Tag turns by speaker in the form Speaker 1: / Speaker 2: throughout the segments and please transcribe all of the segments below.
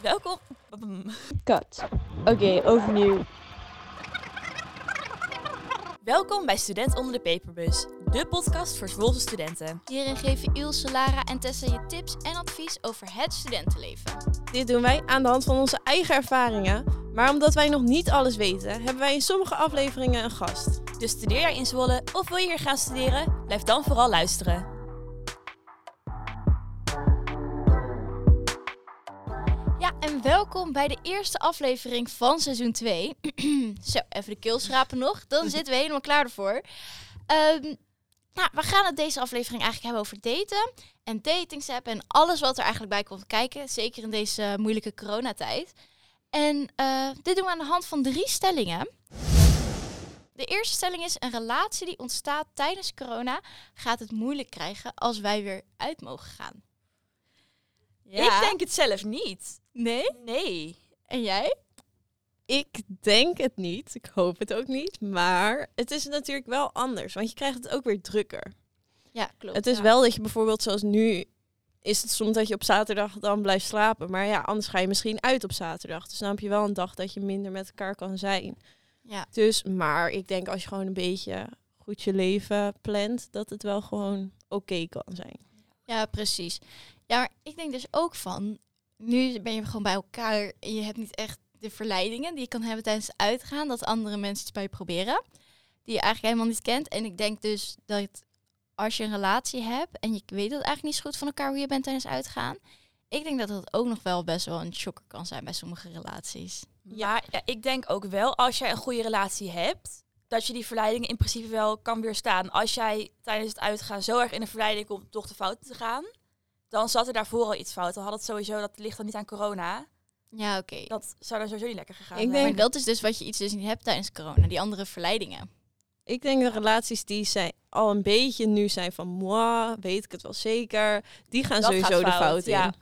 Speaker 1: Welkom.
Speaker 2: Kat. Oké, overnieuw.
Speaker 1: Welkom bij Student onder de Paperbus, de podcast voor Zwolse studenten.
Speaker 3: Hierin geven Ilse, Lara en Tessa je tips en advies over het studentenleven.
Speaker 4: Dit doen wij aan de hand van onze eigen ervaringen. Maar omdat wij nog niet alles weten, hebben wij in sommige afleveringen een gast.
Speaker 1: Dus studeer jij in Zwolle of wil je hier gaan studeren? Blijf dan vooral luisteren.
Speaker 3: Ja, en welkom bij de eerste aflevering van seizoen 2. Zo, even de keel schrapen nog, dan zitten we helemaal klaar ervoor. Ehm, nou, we gaan het deze aflevering eigenlijk hebben over daten en datingsapp en alles wat er eigenlijk bij komt kijken. Zeker in deze moeilijke coronatijd. En eh, dit doen we aan de hand van drie stellingen. De eerste stelling is: een relatie die ontstaat tijdens corona gaat het moeilijk krijgen als wij weer uit mogen gaan.
Speaker 1: Ik denk het zelf niet.
Speaker 3: Nee?
Speaker 1: Nee.
Speaker 3: En jij?
Speaker 4: Ik denk het niet, ik hoop het ook niet. Maar het is natuurlijk wel anders, want je krijgt het ook weer drukker.
Speaker 3: Ja, klopt.
Speaker 4: Het is
Speaker 3: ja.
Speaker 4: wel dat je bijvoorbeeld zoals nu, is het soms dat je op zaterdag dan blijft slapen. Maar ja, anders ga je misschien uit op zaterdag. Dus dan heb je wel een dag dat je minder met elkaar kan zijn.
Speaker 3: Ja.
Speaker 4: Dus, maar ik denk als je gewoon een beetje goed je leven plant, dat het wel gewoon oké kan zijn.
Speaker 3: ja, precies. Ja, maar ik denk dus ook van, nu ben je gewoon bij elkaar en je hebt niet echt de verleidingen die je kan hebben tijdens het uitgaan, dat andere mensen iets bij je proberen, die je eigenlijk helemaal niet kent. En ik denk dus dat als je een relatie hebt en je weet het eigenlijk niet zo goed van elkaar hoe je bent tijdens uitgaan, ik denk dat dat ook nog wel best wel een shocker kan zijn bij sommige relaties.
Speaker 1: Ja. Maar ja, ik denk ook wel, als jij een goede relatie hebt, dat je die verleidingen in principe wel kan weerstaan. Als jij tijdens het uitgaan zo erg in de verleiding komt toch de fouten te gaan, dan zat er daarvoor al iets fout. Dan had het sowieso, dat ligt dan niet aan corona.
Speaker 3: Ja, oké.
Speaker 1: Dat zou dan sowieso niet lekker gegaan
Speaker 4: Ik
Speaker 1: zijn.
Speaker 4: denk-
Speaker 3: Maar dat is dus wat je iets dus niet hebt tijdens corona, die andere verleidingen.
Speaker 4: Ik denk de relaties die zijn al een beetje nu zijn van moi, weet ik het wel zeker. Die gaan
Speaker 1: Dat
Speaker 4: sowieso
Speaker 1: gaat
Speaker 4: de
Speaker 1: fout,
Speaker 4: fout in.
Speaker 1: ja.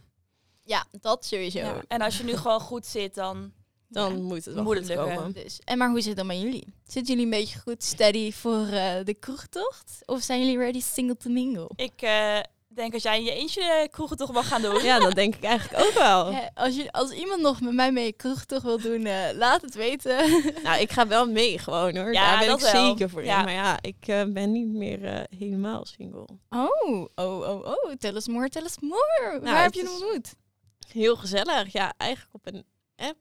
Speaker 3: Ja, dat sowieso.
Speaker 1: Ja. En als je nu gewoon goed zit, dan
Speaker 4: Dan
Speaker 3: Ja.
Speaker 4: moet het wel
Speaker 1: Moet
Speaker 4: goed
Speaker 1: het lukken.
Speaker 4: komen.
Speaker 3: Dus, en maar hoe zit het dan met jullie? Zitten jullie een beetje goed steady voor eh, de kroegtocht? Of zijn jullie ready single to mingle?
Speaker 1: Ik eh, denk als jij in je eentje eh, kroegen toch wel gaan doen.
Speaker 4: Ja, dat denk ik eigenlijk ook wel.
Speaker 3: Hè, als, jullie, als iemand nog met mij mee een kroegtocht wil doen, eh, laat het weten.
Speaker 4: Nou, ik ga wel mee gewoon hoor.
Speaker 1: Ja,
Speaker 4: Daar ben
Speaker 1: dat
Speaker 4: ik
Speaker 1: wel.
Speaker 4: zeker voor
Speaker 1: Ja.
Speaker 4: in. Maar ja, ik eh, ben niet meer eh, helemaal single.
Speaker 3: Oh, oh, oh, oh. Tell us more, tell us more. Waar heb
Speaker 4: het
Speaker 3: je hem
Speaker 4: is-
Speaker 3: ontmoet?
Speaker 4: Heel gezellig. Ja, eigenlijk op een app.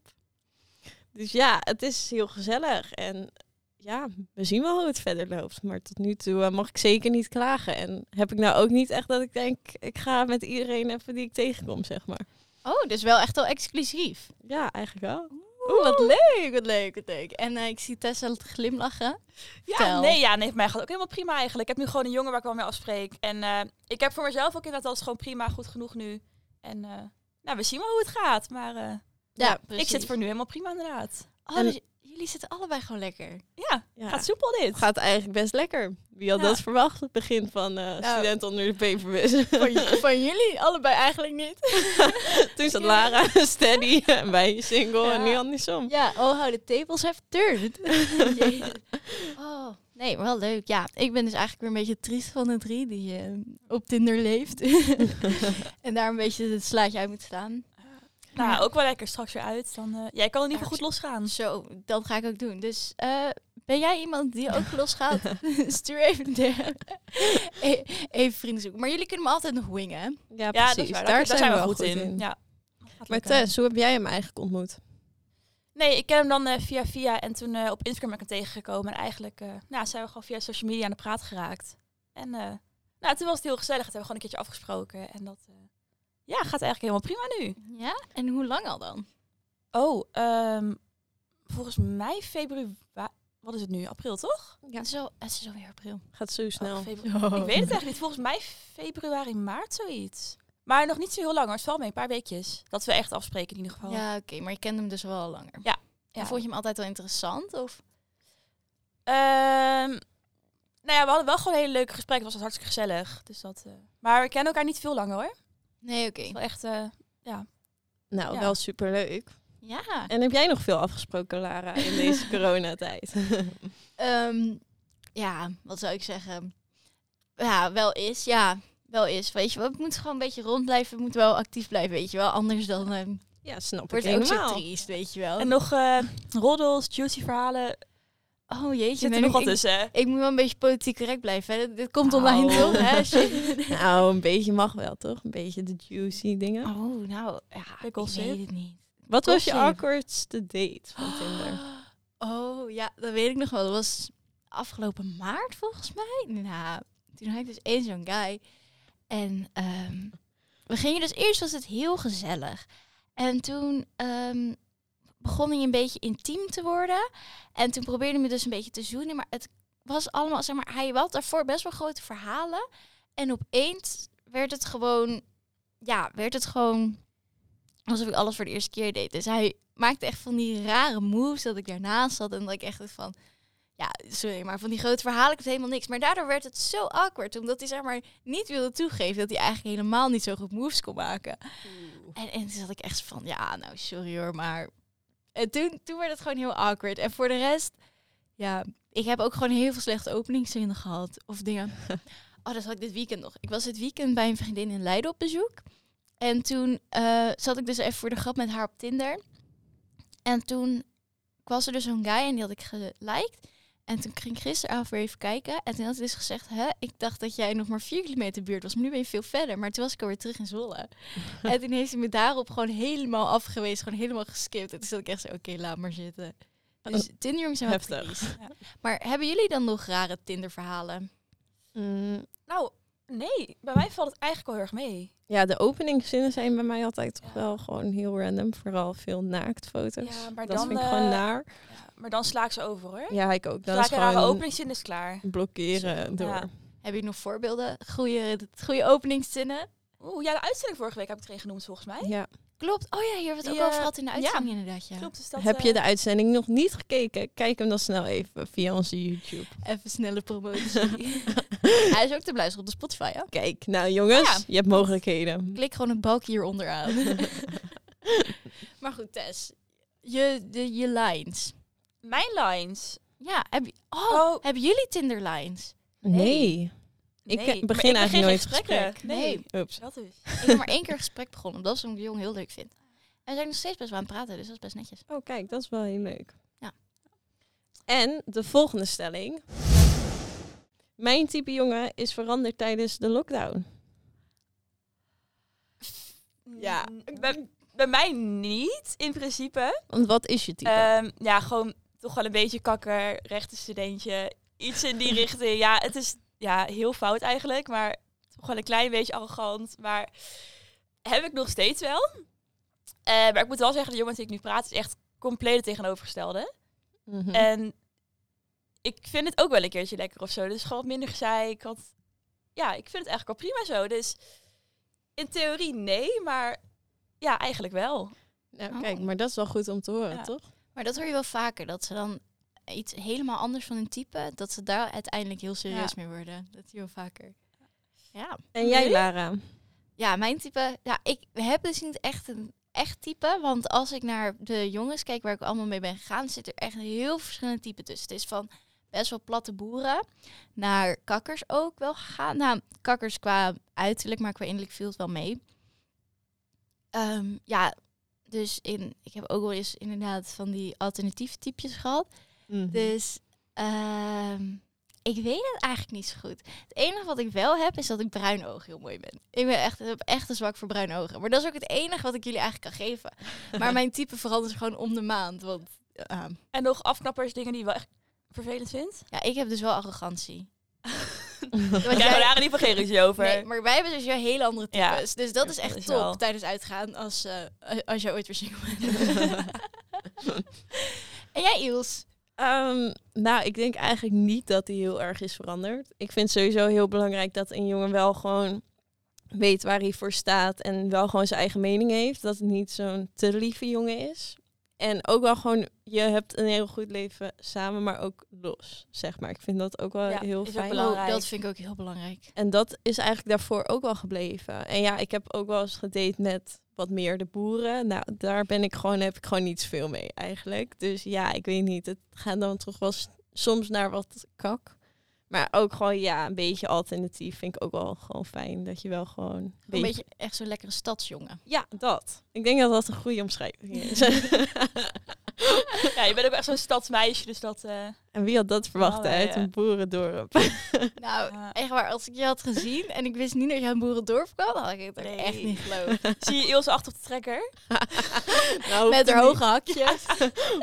Speaker 4: Dus ja, het is heel gezellig. En ja, we zien wel hoe het verder loopt. Maar tot nu toe eh, mag ik zeker niet klagen. En heb ik nou ook niet echt dat ik denk, ik ga met iedereen even die ik tegenkom, zeg maar.
Speaker 3: Oh, dus wel echt wel exclusief.
Speaker 4: Ja, eigenlijk wel.
Speaker 3: Oeh, wat leuk, wat leuk, wat leuk. En eh, ik zie Tessa het glimlachen.
Speaker 1: Ja,
Speaker 3: Vertel.
Speaker 1: nee, ja, nee, voor mij gaat het ook helemaal prima eigenlijk. Ik heb nu gewoon een jongen waar ik wel mee afspreek. En eh, ik heb voor mezelf ook inderdaad alles gewoon prima, goed genoeg nu. En eh, nou, we zien wel hoe het gaat. Maar eh,
Speaker 3: Ja,
Speaker 1: ik
Speaker 3: precies.
Speaker 1: zit voor nu helemaal prima inderdaad.
Speaker 3: Oh,
Speaker 4: En-
Speaker 3: dus jullie zitten allebei gewoon lekker.
Speaker 1: Ja,
Speaker 4: Ja.
Speaker 1: gaat soepel dit.
Speaker 4: Het gaat eigenlijk best lekker. Wie had
Speaker 1: Ja.
Speaker 4: dat verwacht? Het begin van eh
Speaker 3: Nou.
Speaker 4: student onder de paperbus.
Speaker 3: Van, van jullie allebei eigenlijk niet.
Speaker 4: Toen zat Lara steady en wij single en
Speaker 3: Ja.
Speaker 4: nu andersom.
Speaker 3: Ja, oh, how the tables have turned. Jezus. oh, nee, maar wel leuk. Ja, ik ben dus eigenlijk weer een beetje triest van de drie die eh, op Tinder leeft. en daar een beetje het slaatje uit moet slaan. Ah.
Speaker 1: Nou, ook wel lekker straks weer uit. Dan, eh, jij kan in ieder geval goed losgaan.
Speaker 3: Zo, dat ga ik ook doen. Dus eh, ben jij iemand die ook losgaat? Stuur even de, e- even vrienden zoeken. Maar jullie kunnen me altijd nog wingen. hè?
Speaker 4: Ja,
Speaker 1: Ja, dat is waar. Daar, daar zijn we goed in. Ja. Dat gaat
Speaker 4: Maar eh,
Speaker 1: lukken.
Speaker 4: Tess, hoe heb jij hem eigenlijk ontmoet?
Speaker 1: Nee, ik ken hem dan eh, via via en toen eh, op Instagram ben ik hem tegengekomen. En eigenlijk eh, nou, zijn we gewoon via social media aan de praat geraakt. En eh, nou, toen was het heel gezellig. Toen hebben we gewoon een keertje afgesproken. En dat eh, ja, gaat eigenlijk helemaal prima nu.
Speaker 3: Ja? En hoe lang al dan?
Speaker 1: Oh, ehm, volgens mij februari... Wat is het nu? April, toch?
Speaker 3: Ja. Zo, het is alweer april.
Speaker 4: Gaat zo
Speaker 1: Oh,
Speaker 4: snel.
Speaker 1: febru- Ik weet het echt niet. Volgens mij februari, maart, zoiets. Maar nog niet zo heel lang, hoor. Het valt mee. Een paar weekjes. Dat we echt afspreken in ieder geval.
Speaker 3: Ja, oké, maar je kent hem dus wel al langer.
Speaker 1: Ja,
Speaker 3: En
Speaker 1: ja.
Speaker 3: Vond je hem altijd wel interessant? Of?
Speaker 1: Ehm, nou ja, we hadden wel gewoon een hele leuke gesprek. Het was hartstikke gezellig. Dus dat, eh, Maar we kennen elkaar niet veel langer hoor.
Speaker 3: Nee, oké.
Speaker 1: Het is wel echt... eh,
Speaker 4: nou,
Speaker 1: Ja.
Speaker 4: wel superleuk.
Speaker 3: Ja.
Speaker 4: En heb jij nog veel afgesproken, Lara, in deze coronatijd?
Speaker 3: Ehm, ja, wat zou ik zeggen? Ja, wel is, ja. Wel is, weet je wel. Het moet gewoon een beetje rond blijven. Het moet wel actief blijven, weet je wel. Anders dan ehm,
Speaker 4: Ja, snap
Speaker 3: Wordt
Speaker 4: ik
Speaker 3: ook zo
Speaker 4: helemaal.
Speaker 3: triest, weet je wel.
Speaker 1: En nog eh, roddels, juicy verhalen
Speaker 3: oh jeetje,
Speaker 1: zitten
Speaker 3: ben
Speaker 1: er
Speaker 3: ik,
Speaker 1: nogal
Speaker 3: ik,
Speaker 1: tussen. hè?
Speaker 3: ik moet wel een beetje politiek correct blijven. Hè. Dit, dit komt
Speaker 1: Nou.
Speaker 3: online toch? Hè? Shit.
Speaker 4: nou, een beetje mag wel, toch? Een beetje de juicy dingen.
Speaker 3: Oh, nou, ja, ik
Speaker 1: Pickles
Speaker 3: weet
Speaker 1: in.
Speaker 3: het niet.
Speaker 4: Wat was je
Speaker 3: Gossip.
Speaker 4: awkwardste date van Tinder?
Speaker 3: Oh ja, dat weet ik nog wel. Dat was afgelopen maart volgens mij. Nou, toen had ik dus één zo'n guy. En ehm, we gingen dus eerst was het heel gezellig. En toen ehm, begon hij een beetje intiem te worden. En toen probeerde hij dus een beetje te zoenen. Maar het was allemaal, zeg maar, hij had daarvoor best wel grote verhalen. En opeens werd het gewoon, ja, werd het gewoon alsof ik alles voor de eerste keer deed. Dus hij maakte echt van die rare moves dat ik daarnaast zat. En dat ik echt dacht van, ja, sorry, maar van die grote verhalen ik het helemaal niks. Maar daardoor werd het zo awkward, omdat hij zeg maar niet wilde toegeven dat hij eigenlijk helemaal niet zo goed moves kon maken. En, en toen zat ik echt van, ja, nou sorry hoor, maar... En toen, toen werd het gewoon heel awkward. En voor de rest, ja, ik heb ook gewoon heel veel slechte openingszinnen gehad. Of dingen. Oh, dat had ik dit weekend nog. Ik was dit weekend bij een vriendin in Leiden op bezoek. En toen eh, zat ik dus even voor de grap met haar op Tinder. En toen was er dus zo'n guy en die had ik geliked. En toen ging ik gisteravond weer even kijken. En toen had hij dus gezegd, hè, ik dacht dat jij nog maar vier kilometer buurt was. Maar nu ben je veel verder. Maar toen was ik alweer terug in Zwolle. en toen heeft hij me daarop gewoon helemaal afgewezen. Gewoon helemaal geskipt. En toen zat ik echt zo, oké, laat maar zitten. Dus Tinder jongens zijn wat
Speaker 4: Heftig.
Speaker 3: triest. Maar hebben jullie dan nog rare Tinder verhalen?
Speaker 4: Mm,
Speaker 1: Nou, nee, bij mij valt het eigenlijk wel heel erg mee.
Speaker 4: ja, de openingszinnen zijn bij mij altijd toch
Speaker 1: Ja.
Speaker 4: wel gewoon heel random. Vooral veel naaktfoto's.
Speaker 1: Ja, maar
Speaker 4: dat
Speaker 1: dan,
Speaker 4: vind ik gewoon
Speaker 1: eh,
Speaker 4: naar.
Speaker 1: Ja, maar dan sla ik ze over hoor.
Speaker 4: Ja, ik ook. Dan
Speaker 1: Sla
Speaker 4: is
Speaker 1: ik een rare
Speaker 4: gewoon
Speaker 1: openingszin is klaar.
Speaker 4: blokkeren door.
Speaker 1: Ja.
Speaker 3: Hebben jullie nog voorbeelden? Goede, goede openingszinnen?
Speaker 1: Oeh, ja, de uitzending vorige week heb ik er een genoemd volgens mij.
Speaker 4: Ja.
Speaker 3: Klopt. Oh ja, hier werd
Speaker 1: Die,
Speaker 3: ook al
Speaker 1: eh,
Speaker 3: vergat in de
Speaker 1: ja.
Speaker 3: uitzending inderdaad. Ja.
Speaker 1: Klopt, dus dat,
Speaker 4: Heb
Speaker 1: eh,
Speaker 4: je de uitzending nog niet gekeken? Kijk hem dan snel even via onze YouTube.
Speaker 3: Even snelle promotie. Hij is ook te beluisteren op de Spotify. Hè?
Speaker 4: Kijk, nou jongens,
Speaker 3: Ja.
Speaker 4: je hebt mogelijkheden.
Speaker 3: Klik gewoon het balkje hieronder aan. maar goed, Tess. Je, de, je lines.
Speaker 1: Mijn lines.
Speaker 3: Ja, heb je, oh,
Speaker 1: Oh.
Speaker 3: hebben jullie Tinder lines?
Speaker 4: Nee. Ik, eh,
Speaker 1: Nee,
Speaker 4: begin
Speaker 1: maar ik
Speaker 4: eigenlijk nooit
Speaker 1: geen gesprekken.
Speaker 4: gesprek.
Speaker 1: Nee,
Speaker 4: Oeps.
Speaker 1: dat is.
Speaker 3: Ik heb maar één keer een gesprek begonnen, omdat ze een jong heel leuk vindt. En we zijn nog steeds best wel aan het praten, dus dat is best netjes.
Speaker 4: Oh, kijk, dat is wel heel leuk.
Speaker 3: Ja.
Speaker 4: En de volgende stelling. Mijn type jongen is veranderd tijdens de lockdown. Ja.
Speaker 1: Bij, bij mij niet, in principe.
Speaker 4: Want wat is je type?
Speaker 1: Ehm, ja, gewoon toch wel een beetje kakker, rechte studentje. Iets in die richting. Ja, het is ja, heel fout eigenlijk, maar toch wel een klein beetje arrogant. Maar heb ik nog steeds wel. Eh, maar ik moet wel zeggen, de jongen die ik nu praat is echt compleet het tegenovergestelde.
Speaker 4: Mhm.
Speaker 1: En ik vind het ook wel een keertje lekker of zo. Dus gewoon wat minder gezeik. Want ja, ik vind het eigenlijk wel prima zo. Dus in theorie nee, maar ja, eigenlijk wel.
Speaker 4: nou,
Speaker 3: Oh.
Speaker 4: kijk, maar dat is wel goed om te horen,
Speaker 1: Ja.
Speaker 4: toch?
Speaker 3: Maar dat hoor je wel vaker, dat ze dan iets helemaal anders van hun type, dat ze daar uiteindelijk heel serieus mee worden. Dat zie je wel vaker. Ja.
Speaker 4: En jij,
Speaker 1: Nee?
Speaker 4: Lara?
Speaker 3: Ja, mijn type. Ja, ik heb dus niet echt een echt type. Want als ik naar de jongens kijk waar ik allemaal mee ben gegaan, zit er echt heel verschillende typen tussen. Het is van best wel platte boeren naar kakkers ook wel gegaan. Nou, kakkers qua uiterlijk, maar qua innerlijk viel het wel mee. Ehm, ja, dus in, ik heb ook wel eens inderdaad van die alternatieve typjes gehad.
Speaker 4: Mhm.
Speaker 3: Dus ehm, ik weet het eigenlijk niet zo goed. Het enige wat ik wel heb is dat ik bruin oog heel mooi ben. Ik ben echt, ik heb echt een zwak voor bruine ogen. Maar dat is ook het enige wat ik jullie eigenlijk kan geven. Maar mijn type verandert gewoon om de maand. Want eh,
Speaker 1: En nog afknappers, dingen die je wel echt vervelend vindt.
Speaker 3: ja, ik heb dus wel arrogantie.
Speaker 1: We
Speaker 3: Want
Speaker 1: krijgen
Speaker 3: jij-
Speaker 1: daar in ieder geval geen ruzie over.
Speaker 3: Nee, maar wij hebben dus weer hele andere
Speaker 1: Ja,
Speaker 3: types. dus dat is
Speaker 1: dat
Speaker 3: echt
Speaker 1: is
Speaker 3: top
Speaker 1: wel.
Speaker 3: tijdens uitgaan als, eh, als jij ooit weer single bent. en jij Iels?
Speaker 4: Ehm, nou, ik denk eigenlijk niet dat die heel erg is veranderd. Ik vind sowieso heel belangrijk dat een jongen wel gewoon weet waar hij voor staat en wel gewoon zijn eigen mening heeft. Dat het niet zo'n te lieve jongen is. En ook wel gewoon, je hebt een heel goed leven samen, maar ook los, zeg maar. Ik vind dat ook wel
Speaker 1: Ja,
Speaker 4: heel
Speaker 1: is ook
Speaker 4: fijn.
Speaker 1: belangrijk.
Speaker 3: Dat vind ik ook heel belangrijk.
Speaker 4: En dat is eigenlijk daarvoor ook wel gebleven. En ja, ik heb ook wel eens gedate met wat meer de boeren. Nou, daar ben ik gewoon, heb ik gewoon niet zoveel mee eigenlijk. Dus ja, ik weet niet. Het gaat dan toch wel s- soms naar wat kak. Maar ook gewoon, ja, een beetje alternatief vind ik ook wel gewoon fijn. Dat je wel gewoon... Een
Speaker 3: Een beetje echt zo'n lekkere stadsjongen.
Speaker 4: Ja, dat. Ik denk dat dat een goede omschrijving is.
Speaker 1: Ja, je bent ook echt zo'n stadsmeisje, dus dat... eh,
Speaker 4: en wie had dat verwacht
Speaker 1: Oh, ja,
Speaker 4: uit
Speaker 1: ja.
Speaker 4: een boerendorp?
Speaker 3: Nou,
Speaker 1: Ja.
Speaker 3: echt waar, als ik je had gezien en ik wist niet dat je een boerendorp kwam, dan had ik het ook
Speaker 1: Nee.
Speaker 3: echt niet geloofd.
Speaker 1: zie je Ilse achter op de trekker?
Speaker 4: nou,
Speaker 3: Met haar hoge hakjes.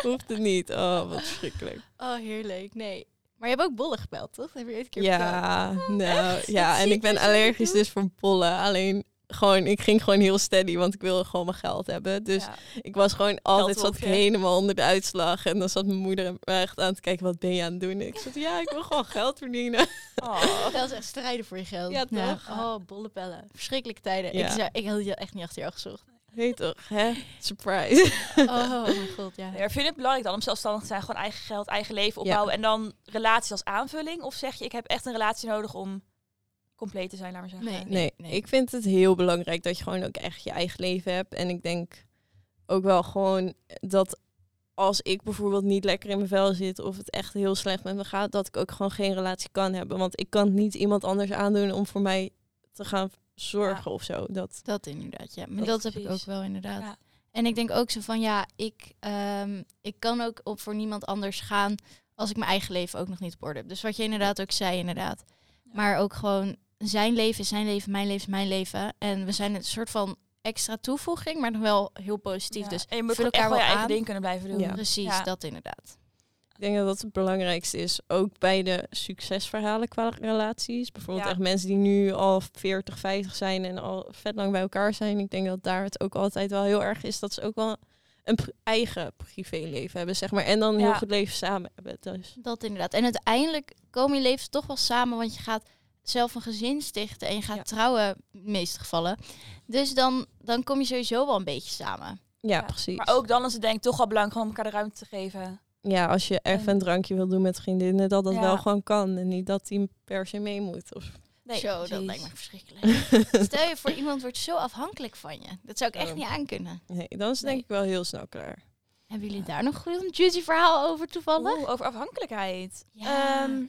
Speaker 4: Hoeft het niet. Oh, wat verschrikkelijk.
Speaker 3: Oh, heerlijk. Nee. Maar je hebt ook bollen gebeld, toch? Dat heb je ooit een keer verteld.
Speaker 4: Ja, nou, ja.
Speaker 3: Dat zie
Speaker 4: En
Speaker 3: ik
Speaker 4: ik ben
Speaker 3: dus niet
Speaker 4: allergisch
Speaker 3: doen.
Speaker 4: dus voor bollen. Alleen gewoon, ik ging gewoon heel steady, want ik wilde gewoon mijn geld hebben. Dus
Speaker 1: Ja.
Speaker 4: ik was gewoon altijd, zat ik
Speaker 1: Geldwolfje.
Speaker 4: helemaal onder de uitslag. En dan zat mijn moeder me echt aan te kijken, wat ben je aan het doen? Ik zei, ja, ik wil gewoon geld verdienen.
Speaker 1: Oh.
Speaker 3: Dat is echt strijden voor je geld.
Speaker 4: Ja,
Speaker 3: Nou,
Speaker 4: toch?
Speaker 3: oh, bolle bellen. Verschrikkelijke tijden.
Speaker 4: Ja.
Speaker 3: Ik, zou, ik had je echt niet achter jou gezocht.
Speaker 4: Nee toch, hè? Surprise.
Speaker 3: Oh, mijn god, ja.
Speaker 1: Ja, vind je het belangrijk dan om zelfstandig te zijn, gewoon eigen geld, eigen leven opbouwen en dan relaties als aanvulling? Of zeg je, ik heb echt een relatie nodig om compleet te zijn, laat maar zeggen.
Speaker 3: Nee.
Speaker 4: Nee, ik vind het heel belangrijk dat je gewoon ook echt je eigen leven hebt. En ik denk ook wel gewoon dat als ik bijvoorbeeld niet lekker in mijn vel zit of het echt heel slecht met me gaat, dat ik ook gewoon geen relatie kan hebben. Want ik kan niet iemand anders aandoen om voor mij te gaan zorgen of zo. Dat,
Speaker 3: Dat inderdaad, ja. Maar dat,
Speaker 1: Dat
Speaker 3: heb ik
Speaker 1: precies.
Speaker 3: ook wel inderdaad.
Speaker 1: Ja.
Speaker 3: En ik denk ook zo van, ja, ik, ehm, ik kan ook op voor niemand anders gaan als ik mijn eigen leven ook nog niet op orde heb. Dus wat je inderdaad ook zei, inderdaad. Maar ook gewoon, zijn leven is zijn leven, mijn leven is mijn leven. En we zijn een soort van extra toevoeging, maar nog wel heel positief.
Speaker 1: Ja,
Speaker 3: Dus
Speaker 1: en je moet
Speaker 3: vul
Speaker 1: ook
Speaker 3: elkaar
Speaker 1: echt wel je
Speaker 3: wel
Speaker 1: eigen
Speaker 3: aan.
Speaker 1: ding kunnen blijven doen.
Speaker 4: Ja.
Speaker 3: precies,
Speaker 1: Ja.
Speaker 3: dat inderdaad.
Speaker 4: ik denk dat dat het belangrijkste is. Ook bij de succesverhalen qua relaties. Bijvoorbeeld
Speaker 1: Ja.
Speaker 4: echt mensen die nu al 40, 50 zijn en al vet lang bij elkaar zijn. Ik denk dat daar het ook altijd wel heel erg is dat ze ook wel een pri- eigen privéleven hebben, zeg maar. En dan een
Speaker 1: Ja.
Speaker 4: heel goed leven samen hebben. Dus.
Speaker 3: Dat inderdaad. En uiteindelijk komen je levens toch wel samen, want je gaat zelf een gezin stichten en je gaat
Speaker 4: Ja.
Speaker 3: trouwen, in de meeste gevallen. Dus dan, dan kom je sowieso wel een beetje samen.
Speaker 4: Ja,
Speaker 1: Ja,
Speaker 4: precies.
Speaker 1: Maar ook dan is het denk ik toch wel belangrijk om elkaar de ruimte te geven.
Speaker 4: Ja, als je even een drankje wil doen met vriendinnen, dat dat
Speaker 1: Ja.
Speaker 4: wel gewoon kan. En niet dat die per se mee moet. Of...
Speaker 1: Nee,
Speaker 3: zo, dat
Speaker 1: precies.
Speaker 3: lijkt me verschrikkelijk. Stel je voor, iemand wordt zo afhankelijk van je. Dat zou ik echt
Speaker 4: Oh.
Speaker 3: niet aankunnen.
Speaker 4: Nee, dan is het denk
Speaker 3: Nee.
Speaker 4: ik wel heel snel klaar.
Speaker 3: Hebben jullie daar nog een juicy verhaal over toevallig?
Speaker 1: Oeh, over afhankelijkheid.
Speaker 3: Ja.
Speaker 1: Ehm,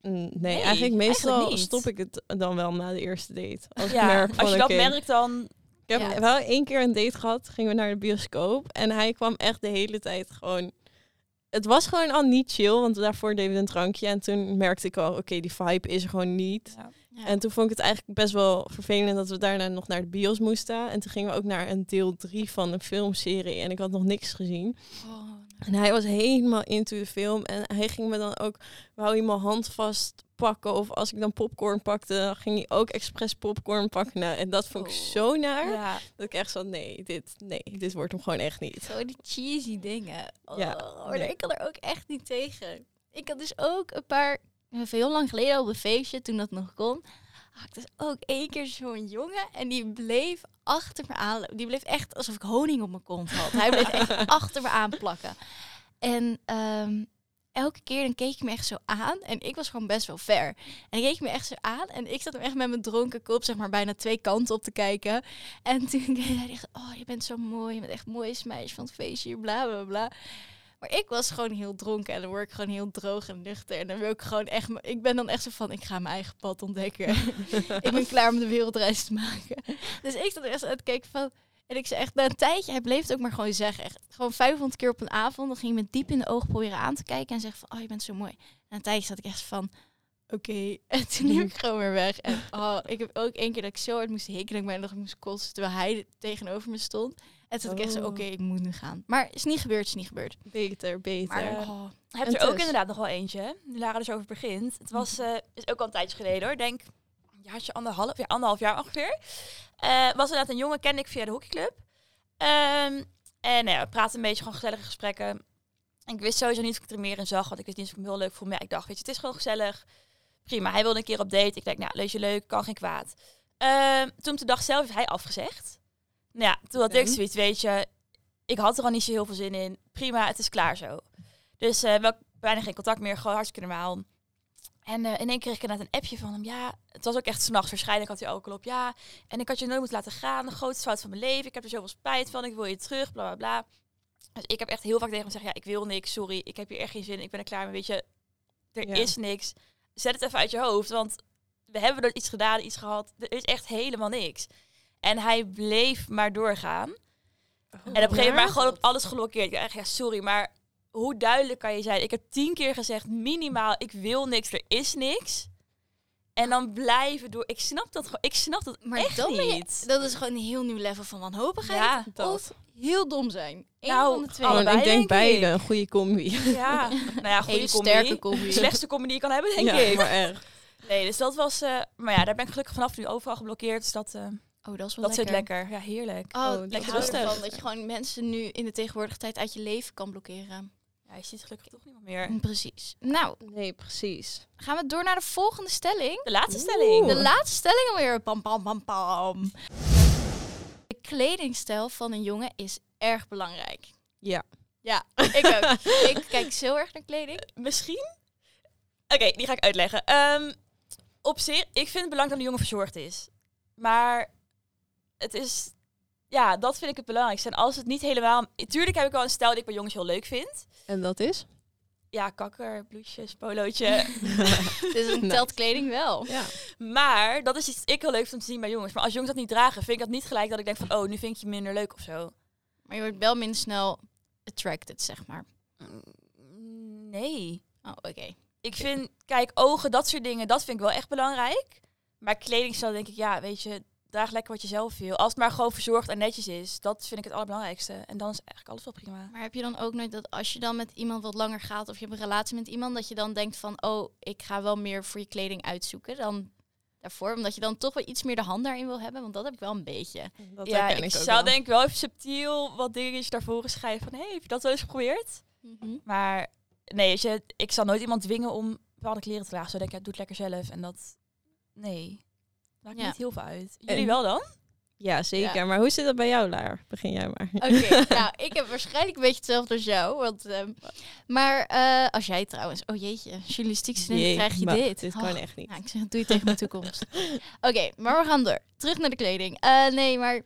Speaker 4: Mm, Nee,
Speaker 1: Nee,
Speaker 4: eigenlijk meestal
Speaker 1: eigenlijk niet.
Speaker 4: stop ik het dan wel na de eerste date. Als,
Speaker 1: ja,
Speaker 4: ik merk van,
Speaker 1: als je dat
Speaker 4: oké,
Speaker 1: merkt dan...
Speaker 4: Ik heb
Speaker 3: Ja.
Speaker 4: wel één keer een date gehad. Gingen we naar de bioscoop. En hij kwam echt de hele tijd gewoon... Het was gewoon al niet chill, want daarvoor deden we een drankje. En toen merkte ik al, oké, die vibe is er gewoon niet.
Speaker 1: Ja.
Speaker 3: Ja.
Speaker 4: En toen vond ik het eigenlijk best wel vervelend dat we daarna nog naar de bios moesten. En toen gingen we ook naar een deel drie van een filmserie. En ik had nog niks gezien.
Speaker 3: Oh,
Speaker 4: En hij was helemaal into de film. En hij ging me dan ook, wou je mijn hand vastpakken. Of als ik dan popcorn pakte, ging hij ook expres popcorn pakken. Nou, en dat vond ik
Speaker 3: Oh.
Speaker 4: zo naar.
Speaker 1: Ja.
Speaker 4: Dat ik echt zo, nee, dit, nee, dit wordt hem gewoon echt niet.
Speaker 3: Zo die cheesy dingen. Oh,
Speaker 4: Ja,
Speaker 3: maar
Speaker 4: nee.
Speaker 3: ik kan er ook echt niet tegen. Ik had dus ook een paar, even heel lang geleden op een feestje, toen dat nog kon, had ik dus ook één keer zo'n jongen en die bleef achter me aanlopen. Die bleef echt alsof ik honing op mijn kont had. Hij bleef echt achter me aanplakken. En ehm, elke keer dan keek hij me echt zo aan en ik was gewoon best wel ver. En hij keek me echt zo aan en ik zat hem echt met mijn dronken kop zeg maar bijna twee kanten op te kijken. En toen deed hij echt, oh je bent zo mooi, je bent echt het mooiste meisje van het feestje, hier, bla bla bla. Maar ik was gewoon heel dronken en dan word ik gewoon heel droog en nuchter. En dan wil ik gewoon echt, m- ik ben dan echt zo van, ik ga mijn eigen pad ontdekken. ik ben klaar om de wereldreis te maken. Dus ik zat er echt uit te kijken van, en ik zei echt, na een tijdje, hij bleef het ook maar gewoon zeggen. Echt, gewoon 500 keer op een avond, dan ging hij me diep in de ogen proberen aan te kijken en zeggen van, oh je bent zo mooi. Na een tijdje zat ik echt van, oké. En toen liep ik gewoon weer weg. En oh, ik heb ook één keer dat ik zo hard moest hikken dat ik mij nog moest kotsen terwijl hij tegenover me stond. En toen had ik echt zo,
Speaker 4: Oh.
Speaker 3: oké, ik moet nu gaan. Maar is niet gebeurd, is niet gebeurd.
Speaker 4: Beter, beter.
Speaker 3: Maar
Speaker 1: Ja.
Speaker 3: oh,
Speaker 1: Je hebt
Speaker 4: En
Speaker 1: er ook
Speaker 4: Tess?
Speaker 1: inderdaad nog wel eentje, hè? nu Lara dus over begint. Het was, eh, is ook al een tijdje geleden hoor, denk een jaartje, anderhalf, ja, anderhalf jaar ongeveer. Eh, was inderdaad een jongen, kende ik via de hockeyclub. Ehm, en nou ja, we praten een beetje, gewoon gezellige gesprekken. Ik wist sowieso niet of ik er meer in zag, want ik wist niet of ik hem heel leuk vond. Maar ja, ik dacht, weet je, het is gewoon gezellig. Prima, hij wilde een keer op date. Ik denk, nou, lees je leuk, kan geen kwaad. Ehm, toen op de dag zelf heeft hij afgezegd. Nou ja, toen had ik
Speaker 4: Oké.
Speaker 1: zoiets, weet je, ik had er al niet zo heel veel zin in. Prima, het is klaar zo. Dus eh wel bijna geen contact meer, gewoon hartstikke normaal. En eh, in één keer kreeg ik inderdaad een appje van hem. Ja, het was ook echt s'nachts. Waarschijnlijk had hij alcohol op. Ja, en ik had je nooit moeten laten gaan. De grootste fout van mijn leven. Ik heb er zoveel spijt van. Ik wil je terug, bla bla bla. Dus ik heb echt heel vaak tegen hem gezegd, ja, ik wil niks, sorry. Ik heb hier echt geen zin in. Ik ben er klaar mee, weet je. Er
Speaker 4: Ja.
Speaker 1: is niks. zet het even uit je hoofd, want we hebben er iets gedaan, iets gehad. Er is echt helemaal niks. En hij bleef maar doorgaan. En
Speaker 3: Oh,
Speaker 1: op een gegeven moment gewoon op alles geblokkeerd. Ik dacht echt, ja, sorry, maar hoe duidelijk kan je zijn? Ik heb tien keer gezegd, minimaal, ik wil niks, er is niks. En dan blijven door. Ik snap dat gewoon. Ik snap dat
Speaker 3: Maar
Speaker 1: echt
Speaker 3: dan ben je-
Speaker 1: niet.
Speaker 3: Dat is gewoon een heel nieuw level van wanhopigheid.
Speaker 1: Ja,
Speaker 3: Of heel dom zijn. Eén
Speaker 1: Nou,
Speaker 3: van de twee.
Speaker 1: allebei,
Speaker 4: ik denk
Speaker 1: denk
Speaker 4: beide
Speaker 1: ik.
Speaker 4: een goede combi.
Speaker 1: ja. Nou ja, goede
Speaker 3: Hele
Speaker 1: combi.
Speaker 3: sterke
Speaker 1: De
Speaker 3: combi.
Speaker 1: slechtste combi die je kan hebben, denk
Speaker 4: ja,
Speaker 1: ik.
Speaker 4: maar erg.
Speaker 1: Nee, dus dat was... eh, maar ja, daar ben ik gelukkig vanaf nu overal geblokkeerd. Dus dat, eh,
Speaker 3: Oh, dat is wel
Speaker 1: dat
Speaker 3: lekker.
Speaker 1: zit lekker. Ja, heerlijk.
Speaker 3: Oh,
Speaker 4: Oh,
Speaker 3: ik
Speaker 1: lekker
Speaker 3: hou
Speaker 1: rustig.
Speaker 3: ervan dat je gewoon mensen nu in de tegenwoordige tijd uit je leven kan blokkeren.
Speaker 1: Ja, je ziet gelukkig toch niemand meer.
Speaker 3: Precies. Nou,
Speaker 4: Nee, precies.
Speaker 3: gaan we door naar de volgende stelling.
Speaker 1: De laatste
Speaker 4: Oeh.
Speaker 1: stelling.
Speaker 3: De
Speaker 4: Oeh.
Speaker 3: laatste stelling alweer. Pam, pam, pam, pam. De kledingstijl van een jongen is erg belangrijk.
Speaker 4: Ja.
Speaker 3: Ja, ik ook. ik kijk zo erg naar kleding.
Speaker 1: Eh, Misschien? Oké, die ga ik uitleggen. Ehm, op zich, ik vind het belangrijk dat de jongen verzorgd is. Maar het is... Ja, dat vind ik het belangrijkste. En als het niet helemaal... Tuurlijk heb ik wel een stijl die ik bij jongens heel leuk vind.
Speaker 4: En dat is?
Speaker 1: Ja, kakker, bloesjes, polootje.
Speaker 3: Dus dan
Speaker 4: Nice.
Speaker 3: telt kleding wel.
Speaker 4: Ja.
Speaker 1: Maar dat is iets ik heel leuk vind om te zien bij jongens. Maar als jongens dat niet dragen, vind ik dat niet gelijk dat ik denk van... oh, nu vind ik je minder leuk of zo.
Speaker 3: Maar je wordt wel minder snel attracted, zeg maar.
Speaker 1: Mm, Nee.
Speaker 3: Oh, oké.
Speaker 1: Ik vind, kijk, ogen, dat soort dingen, dat vind ik wel echt belangrijk. Maar kledingstijl denk ik, ja, weet je... draag lekker wat je zelf wil. Als het maar gewoon verzorgd en netjes is. Dat vind ik het allerbelangrijkste. En dan is eigenlijk alles wel prima.
Speaker 3: Maar heb je dan ook nooit dat als je dan met iemand wat langer gaat of je hebt een relatie met iemand, dat je dan denkt van, oh, ik ga wel meer voor je kleding uitzoeken dan daarvoor? Omdat je dan toch wel iets meer de hand daarin wil hebben, want dat heb ik wel een beetje.
Speaker 4: Dat
Speaker 1: ja,
Speaker 4: herken
Speaker 1: ik,
Speaker 4: ook
Speaker 1: zou
Speaker 4: wel.
Speaker 1: denk ik wel even subtiel wat dingetjes daarvoor schrijven. Van, hey, heb je dat wel eens geprobeerd?
Speaker 4: Mhm.
Speaker 1: Maar nee, weet je, ik zal nooit iemand dwingen om bepaalde kleren te dragen. Zo denk ik, ja, doe het lekker zelf. En dat, nee, maakt
Speaker 3: Ja.
Speaker 1: niet heel veel uit. Jullie
Speaker 4: En-
Speaker 1: wel dan?
Speaker 4: Ja, zeker.
Speaker 3: Ja.
Speaker 4: Maar hoe zit dat bij jou, Laar? Begin jij maar.
Speaker 3: Oké, nou, ik heb waarschijnlijk een beetje hetzelfde als jou. Want, ehm, maar eh, als jij trouwens, oh jeetje, journalistiek student
Speaker 4: Jee,
Speaker 3: krijg je
Speaker 4: maar
Speaker 3: dit.
Speaker 4: Dit
Speaker 3: Oh.
Speaker 4: kan echt niet.
Speaker 3: Nou, ik zeg, doe je tegen mijn toekomst. Oké, maar we gaan door. Terug naar de kleding. Eh, nee, maar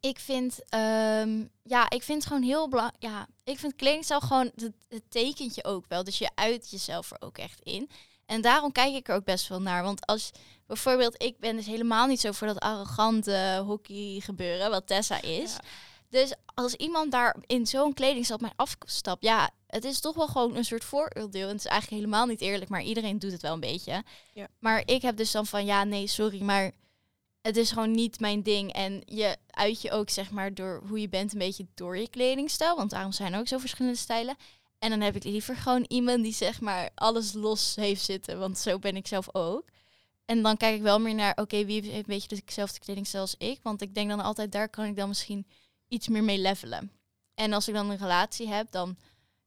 Speaker 3: ik vind, ehm, ja, ik vind het gewoon heel belangrijk. Ja, ik vind kledingstijl gewoon, het, het tekent je ook wel. Dus je uit jezelf er ook echt in. En daarom kijk ik er ook best wel naar. Want als bijvoorbeeld, ik ben dus helemaal niet zo voor dat arrogante hockey gebeuren, wat Tessa is.
Speaker 1: Ja.
Speaker 3: Dus als iemand daar in zo'n kledingstijl op mij afstapt, ja, het is toch wel gewoon een soort vooroordeel. En het is eigenlijk helemaal niet eerlijk, maar iedereen doet het wel een beetje.
Speaker 4: Ja.
Speaker 3: Maar ik heb dus dan van, ja, nee, sorry, maar het is gewoon niet mijn ding. En je uit je ook, zeg maar, door hoe je bent, een beetje door je kledingstijl. Want daarom zijn er ook zo verschillende stijlen. En dan heb ik liever gewoon iemand die, zeg maar, alles los heeft zitten. Want zo ben ik zelf ook. En dan kijk ik wel meer naar, oké, wie heeft een beetje dezelfde kledingstijl als ik? Want ik denk dan altijd, daar kan ik dan misschien iets meer mee levelen. En als ik dan een relatie heb, dan...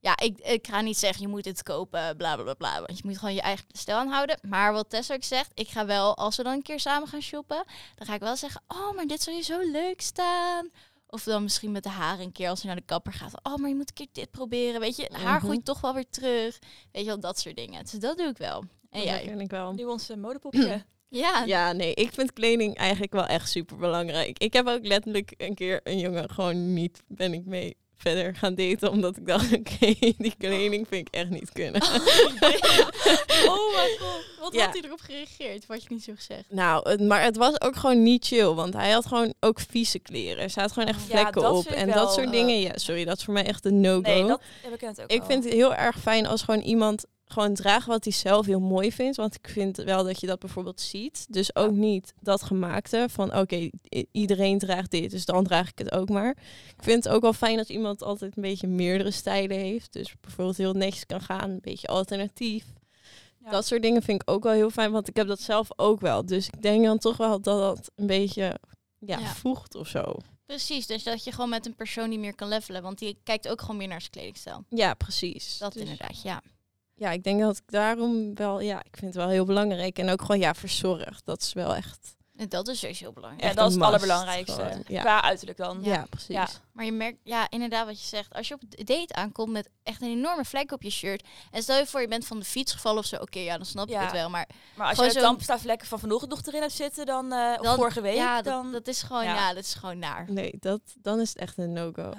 Speaker 3: Ja, ik, ik ga niet zeggen, je moet dit kopen, bla bla bla bla. Want je moet gewoon je eigen stijl aanhouden. Maar wat Tess ook zegt, ik ga wel, als we dan een keer samen gaan shoppen... dan ga ik wel zeggen, oh, maar dit zou je zo leuk staan. Of dan misschien met de haar een keer als je naar de kapper gaat. Oh, maar je moet een keer dit proberen, weet je. Haar
Speaker 4: Mhm.
Speaker 3: groeit toch wel weer terug. Weet je wel, dat soort dingen. Dus dat doe ik wel. En
Speaker 4: Dat
Speaker 3: jij?
Speaker 4: herken ik wel.
Speaker 1: Nu ons eh, modepopje.
Speaker 3: Ja,
Speaker 4: Ja, nee, ik vind kleding eigenlijk wel echt super belangrijk. Ik heb ook letterlijk een keer een jongen gewoon niet ben ik mee verder gaan daten, omdat ik dacht, oké, die kleding vind ik echt niet kunnen.
Speaker 3: Oh mijn god, wat
Speaker 4: Ja.
Speaker 3: had hij erop gereageerd? Wat je niet zo gezegd.
Speaker 4: Nou, het- maar het was ook gewoon niet chill, want hij had gewoon ook vieze kleren. Ze had gewoon echt
Speaker 1: Ja,
Speaker 4: vlekken
Speaker 1: dat
Speaker 4: op
Speaker 1: vind ik
Speaker 4: en
Speaker 1: wel,
Speaker 4: dat soort
Speaker 1: eh,
Speaker 4: dingen. Ja, sorry, dat is voor mij echt een no-go.
Speaker 1: Nee, dat heb ik net ook
Speaker 4: Ik
Speaker 1: al.
Speaker 4: vind het heel erg fijn als gewoon iemand gewoon draagt wat hij zelf heel mooi vindt. Want ik vind wel dat je dat bijvoorbeeld ziet. Dus ook niet dat gemaakte van oké, i- iedereen draagt dit, dus dan draag ik het ook maar. Ik vind het ook wel fijn als iemand altijd een beetje meerdere stijlen heeft. Dus bijvoorbeeld heel netjes kan gaan, een beetje alternatief.
Speaker 1: Ja.
Speaker 4: Dat soort dingen vind ik ook wel heel fijn, want ik heb dat zelf ook wel. Dus ik denk dan toch wel dat dat een beetje ja,
Speaker 3: Ja.
Speaker 4: voegt of zo.
Speaker 3: Precies, dus dat je gewoon met een persoon niet meer kan levelen. Want die kijkt ook gewoon meer naar zijn kledingstijl.
Speaker 4: Ja, precies.
Speaker 3: Dat
Speaker 4: Dus-
Speaker 3: inderdaad, ja.
Speaker 4: ja, ik denk dat ik daarom wel, ja, ik vind het wel heel belangrijk. En ook gewoon, ja, verzorgd. Dat is wel echt.
Speaker 3: En dat is sowieso belangrijk.
Speaker 1: Ja,
Speaker 4: echt
Speaker 1: dat is
Speaker 4: een
Speaker 1: het
Speaker 4: must,
Speaker 1: allerbelangrijkste.
Speaker 4: gewoon, ja.
Speaker 1: Qua uiterlijk dan.
Speaker 4: Ja, precies.
Speaker 1: Ja.
Speaker 3: Maar je merkt, ja, inderdaad wat je zegt. Als je op een date aankomt met echt een enorme vlek op je shirt. En stel je voor, je bent van de fiets gevallen of zo. Oké, ja, dan snap ik
Speaker 1: Ja.
Speaker 3: het wel. Maar
Speaker 1: Maar als
Speaker 3: Gewoon
Speaker 1: je de
Speaker 3: zo'n-
Speaker 1: tandpastaflekken van vanochtend nog erin hebt zitten, dan, eh, of
Speaker 3: Dan-
Speaker 1: vorige week,
Speaker 3: ja, dat,
Speaker 1: dan...
Speaker 3: dat is gewoon, ja.
Speaker 1: ja.
Speaker 3: dat is gewoon naar.
Speaker 4: Nee, dat, dan is het echt een no-go.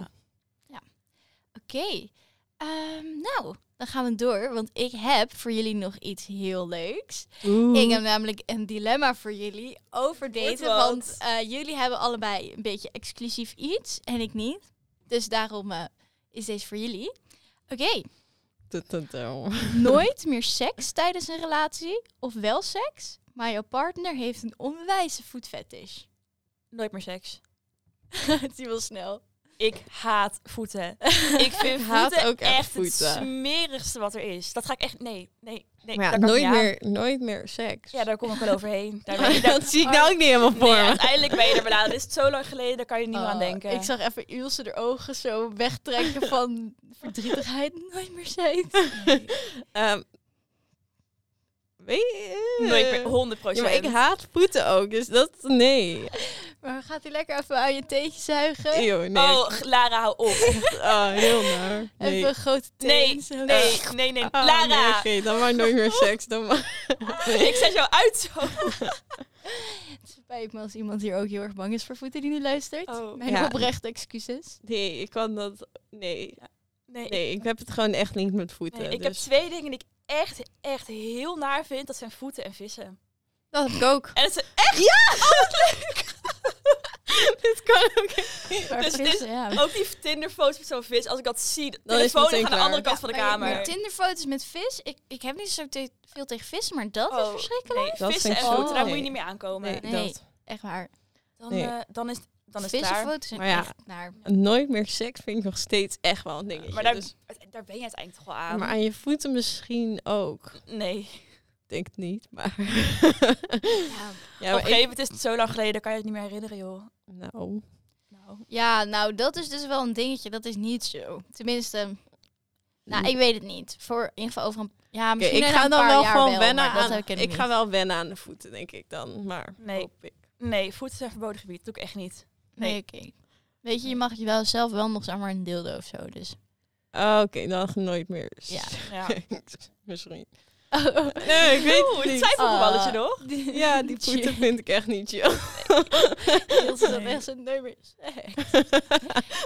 Speaker 1: Ja.
Speaker 3: Oké. Ehm, nou, dan gaan we door, want ik heb voor jullie nog iets heel leuks.
Speaker 4: Oeh.
Speaker 3: Ik heb namelijk een dilemma voor jullie over
Speaker 1: Wordt
Speaker 3: daten.
Speaker 1: wat.
Speaker 3: Want eh, jullie hebben allebei een beetje exclusief iets en ik niet. Dus daarom eh, is deze voor jullie. Oké, nooit meer seks tijdens een relatie of wel seks, maar jouw partner heeft een onwijze voetfetish.
Speaker 1: Nooit meer seks.
Speaker 3: Die wil snel.
Speaker 1: Ik haat voeten. Ik vind
Speaker 4: haat
Speaker 1: voeten
Speaker 4: ook echt
Speaker 1: echt
Speaker 4: voeten.
Speaker 1: het smerigste wat er is. Dat ga ik echt... Nee, nee, nee.
Speaker 4: Maar ja,
Speaker 1: daar kan ik
Speaker 4: nooit
Speaker 1: niet aan.
Speaker 4: meer, nooit meer seks.
Speaker 1: Ja, daar kom ik wel overheen. Daar ben
Speaker 4: Maar
Speaker 1: je, daar-
Speaker 4: dat zie ik nou ook niet helemaal voor
Speaker 1: nee,
Speaker 4: me.
Speaker 1: uiteindelijk ben je er benaderd. Is het zo lang geleden, daar kan je niet meer aan
Speaker 3: Oh,
Speaker 1: denken.
Speaker 3: Ik zag even Ilse de ogen zo wegtrekken van verdrietigheid. Nooit meer seks.
Speaker 4: Ehm, weet je-
Speaker 1: Nooit meer, 100
Speaker 4: Ja, maar ik haat voeten ook, dus dat... Nee.
Speaker 3: Maar gaat hij lekker even aan je teentje zuigen?
Speaker 4: Eeuw, nee.
Speaker 1: Oh, g- Lara, hou op.
Speaker 4: Oh, heel naar. Nee.
Speaker 3: Even een grote
Speaker 1: Nee,
Speaker 3: teen. zo.
Speaker 1: nee, nee, nee.
Speaker 4: Oh, nee,
Speaker 1: Lara,
Speaker 4: Oké, dan maar nooit meer seks. Dan maar...
Speaker 1: ik zet jou uit zo.
Speaker 3: Het spijt me als iemand hier ook heel erg bang is voor voeten die nu luistert.
Speaker 1: Oh.
Speaker 3: Mijn
Speaker 4: Ja.
Speaker 3: oprechte excuses.
Speaker 4: Nee, ik kan dat... Nee.
Speaker 1: Nee,
Speaker 4: Nee, ik heb het gewoon echt niet met voeten.
Speaker 1: nee, ik heb
Speaker 4: dus...
Speaker 1: twee dingen die ik echt, echt heel naar vind. Dat zijn voeten en vissen.
Speaker 3: Dat heb ik ook.
Speaker 1: En het zijn echt... Oh, Ja!
Speaker 4: Dit kan ook
Speaker 3: Maar
Speaker 1: Dus dit-
Speaker 3: vissen, ja.
Speaker 1: Ook die Tinder-foto's met zo'n vis. Als ik dat zie, de
Speaker 4: Dan is het
Speaker 1: telefoon
Speaker 4: meteen
Speaker 1: ligt aan de
Speaker 4: klaar.
Speaker 1: andere kant van de kamer.
Speaker 3: Maar Tinderfoto's met vis. Ik, ik heb niet zo te- veel tegen vissen, maar dat is
Speaker 1: Oh,
Speaker 3: verschrikkelijk.
Speaker 1: nee,
Speaker 4: Dat
Speaker 1: vissen
Speaker 4: vind
Speaker 1: en
Speaker 4: ik Oh,
Speaker 3: zo-
Speaker 1: voeten, daar
Speaker 4: nee.
Speaker 1: moet je niet mee aankomen.
Speaker 4: Nee,
Speaker 3: Nee.
Speaker 4: dat.
Speaker 3: Echt waar.
Speaker 1: Dan,
Speaker 4: Nee.
Speaker 1: eh, dan is, dan is het klaar.
Speaker 3: Vissenfoto's zijn
Speaker 4: Maar ja.
Speaker 3: echt naar.
Speaker 4: Nooit meer seks vind ik nog steeds echt wel een dingetje.
Speaker 1: Maar daar,
Speaker 4: dus-
Speaker 1: Eh, daar ben je uiteindelijk toch wel aan.
Speaker 4: maar aan je voeten misschien ook.
Speaker 1: nee.
Speaker 4: Ik denk het niet, maar...
Speaker 3: Ja.
Speaker 4: ja,
Speaker 1: Op een
Speaker 4: maar
Speaker 1: gegeven
Speaker 4: ik...
Speaker 1: moment is het zo lang geleden, kan je het niet meer herinneren, joh.
Speaker 4: Nou,
Speaker 1: Nou.
Speaker 3: ja, nou dat is dus wel een dingetje. Dat is niet zo. Tenminste, nou ik weet het niet. Voor in ieder geval over een... Ja,
Speaker 4: Hm. Oké,
Speaker 3: misschien
Speaker 4: ik
Speaker 3: na
Speaker 4: ga
Speaker 3: een
Speaker 4: dan
Speaker 3: paar
Speaker 4: wel
Speaker 3: jaar
Speaker 4: gewoon
Speaker 3: wel,
Speaker 4: wennen
Speaker 3: maar dat
Speaker 4: aan...
Speaker 3: heb ik,
Speaker 4: Ik ga wel wennen aan de voeten, denk ik dan. Maar
Speaker 1: Nee.
Speaker 4: hoop ik.
Speaker 1: Nee, voeten zijn verboden gebied. Dat doe ik echt niet.
Speaker 3: Nee,
Speaker 1: Nee.
Speaker 3: oké. Weet je, je mag je wel zelf wel nog zeg maar een dildo of zo. Dus.
Speaker 4: Ah, Oké, dan nooit meer
Speaker 3: Ja.
Speaker 1: Ja.
Speaker 4: seks. Misschien. Nee, ik weet
Speaker 1: Oeh,
Speaker 4: het
Speaker 1: het
Speaker 4: niet.
Speaker 1: twijfelgevalletje,
Speaker 3: Ah.
Speaker 1: toch?
Speaker 4: Ja, die voeten vind ik echt niet chill.
Speaker 3: Ilse is dan
Speaker 1: Nee.
Speaker 3: echt zo'n nummer.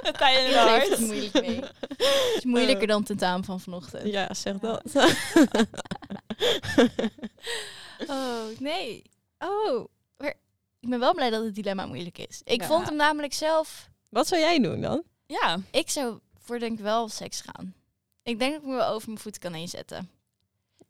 Speaker 1: Een pijn in het
Speaker 3: Daar heeft het
Speaker 1: hart.
Speaker 3: moeilijk mee. Het is moeilijker dan tentamen van vanochtend.
Speaker 4: Ja, zeg dat.
Speaker 3: Oh, nee. Oh. maar ik ben wel blij dat het dilemma moeilijk is. Ik
Speaker 4: Ja.
Speaker 3: vond hem namelijk zelf...
Speaker 4: Wat zou jij doen dan?
Speaker 1: Ja.
Speaker 3: Ik zou voor denk ik wel seks gaan. Ik denk dat ik me wel over mijn voeten kan heen zetten.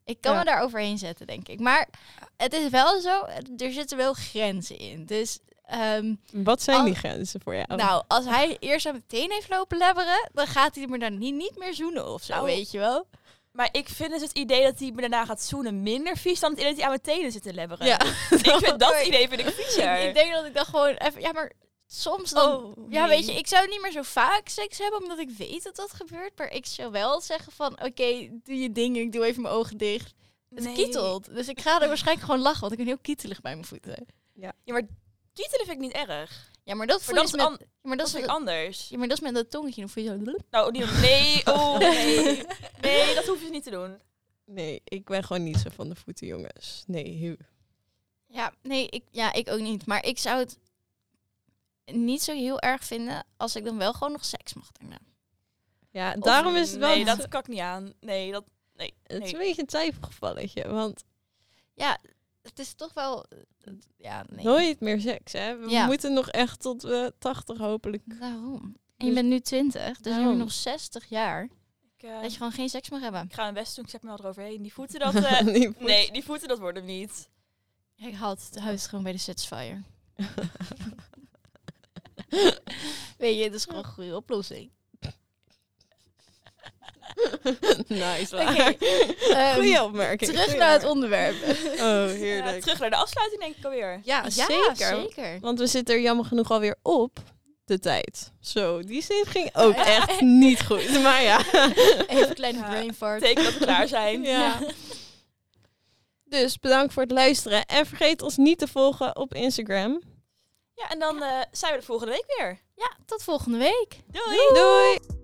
Speaker 3: Ik kan
Speaker 4: Ja.
Speaker 3: me daar overheen zetten, denk ik. Maar het is wel zo, er zitten wel grenzen in. Dus ehm,
Speaker 4: Wat zijn
Speaker 3: Al-
Speaker 4: die grenzen voor jou?
Speaker 3: Nou, als hij eerst aan meteen heeft lopen lebberen, dan gaat hij me dan niet, niet meer zoenen of zo,
Speaker 1: Nou,
Speaker 3: weet je wel.
Speaker 1: Maar ik vind dus het idee dat hij me daarna gaat zoenen minder vies dan het idee dat hij aan mijn tenen zit te lebberen.
Speaker 4: ja.
Speaker 1: Ik vind dat idee vind ik viezer.
Speaker 3: Ik denk dat ik dan gewoon even, ja, maar soms dan.
Speaker 1: Oh,
Speaker 3: ja,
Speaker 1: nee.
Speaker 3: weet je, ik zou niet meer zo vaak seks hebben, omdat ik weet dat dat gebeurt. Maar ik zou wel zeggen van, oké, doe je ding, ik doe even mijn ogen dicht. Het
Speaker 1: Nee.
Speaker 3: kietelt. Dus ik ga er waarschijnlijk gewoon lachen, want ik ben heel kietelig bij mijn voeten.
Speaker 1: Ja, maar kietelen vind ik niet erg.
Speaker 3: Ja, maar dat voel
Speaker 1: Maar
Speaker 3: je
Speaker 1: dat
Speaker 3: dus
Speaker 1: is,
Speaker 3: met...
Speaker 1: an-
Speaker 3: ja, maar dat
Speaker 1: dat
Speaker 3: is
Speaker 1: is weer
Speaker 3: met-
Speaker 1: anders.
Speaker 3: ja, maar dat is met dat tongetje. Dan voel je zo...
Speaker 1: Nou, niet, nee, oh nee. Nee, dat hoef je niet te doen.
Speaker 4: Nee, ik ben gewoon niet zo van de voeten, jongens. Nee, heel-
Speaker 3: Ja, nee, ik, ja, ik ook niet. Maar ik zou het niet zo heel erg vinden als ik dan wel gewoon nog seks mag daarna.
Speaker 4: Ja,
Speaker 1: Of
Speaker 4: daarom is het wel...
Speaker 1: Nee, dat kan ik niet aan. Nee, dat... Nee,
Speaker 4: Het is een
Speaker 1: nee.
Speaker 4: beetje een twijfelgevalletje, want
Speaker 3: Ja, het is toch wel... Ja, nee.
Speaker 4: nooit meer seks, hè? We
Speaker 3: Ja.
Speaker 4: moeten nog echt tot we 80 hopelijk.
Speaker 3: Daarom. En je bent nu 20, dus dan heb
Speaker 4: Daarom.
Speaker 3: je nog 60 jaar
Speaker 1: Ik, eh,
Speaker 3: dat je gewoon geen seks mag hebben.
Speaker 1: ik ga mijn best doen, ik zet me wel eroverheen. Die voeten, dat... eh,
Speaker 4: Die voeten.
Speaker 1: nee, die voeten, dat wordt hem niet.
Speaker 3: Ik haal het huis gewoon bij de Satisfyer. Weet je, dat is gewoon een goede oplossing.
Speaker 4: nice,
Speaker 3: Oké,
Speaker 4: waar.
Speaker 3: ehm,
Speaker 4: Goeie opmerking.
Speaker 3: Terug
Speaker 4: goeie
Speaker 3: naar het
Speaker 4: opmerking.
Speaker 3: onderwerp.
Speaker 4: Oh,
Speaker 1: Ja,
Speaker 4: heerlijk.
Speaker 1: Eh, terug naar de afsluiting denk ik alweer.
Speaker 4: Ja,
Speaker 3: Ja, zeker.
Speaker 4: Want we zitten er jammer genoeg alweer op de tijd. Zo, die zin ging ook
Speaker 3: Ja.
Speaker 4: echt niet goed. Maar ja.
Speaker 3: Even een kleine
Speaker 1: Ja,
Speaker 3: brain fart.
Speaker 1: Teken dat we klaar zijn.
Speaker 4: Dus bedankt voor het luisteren. En vergeet ons niet te volgen op Instagram.
Speaker 1: Ja, en dan eh, zijn we de volgende week weer.
Speaker 3: Ja, tot volgende week.
Speaker 1: Doei!
Speaker 4: Doei.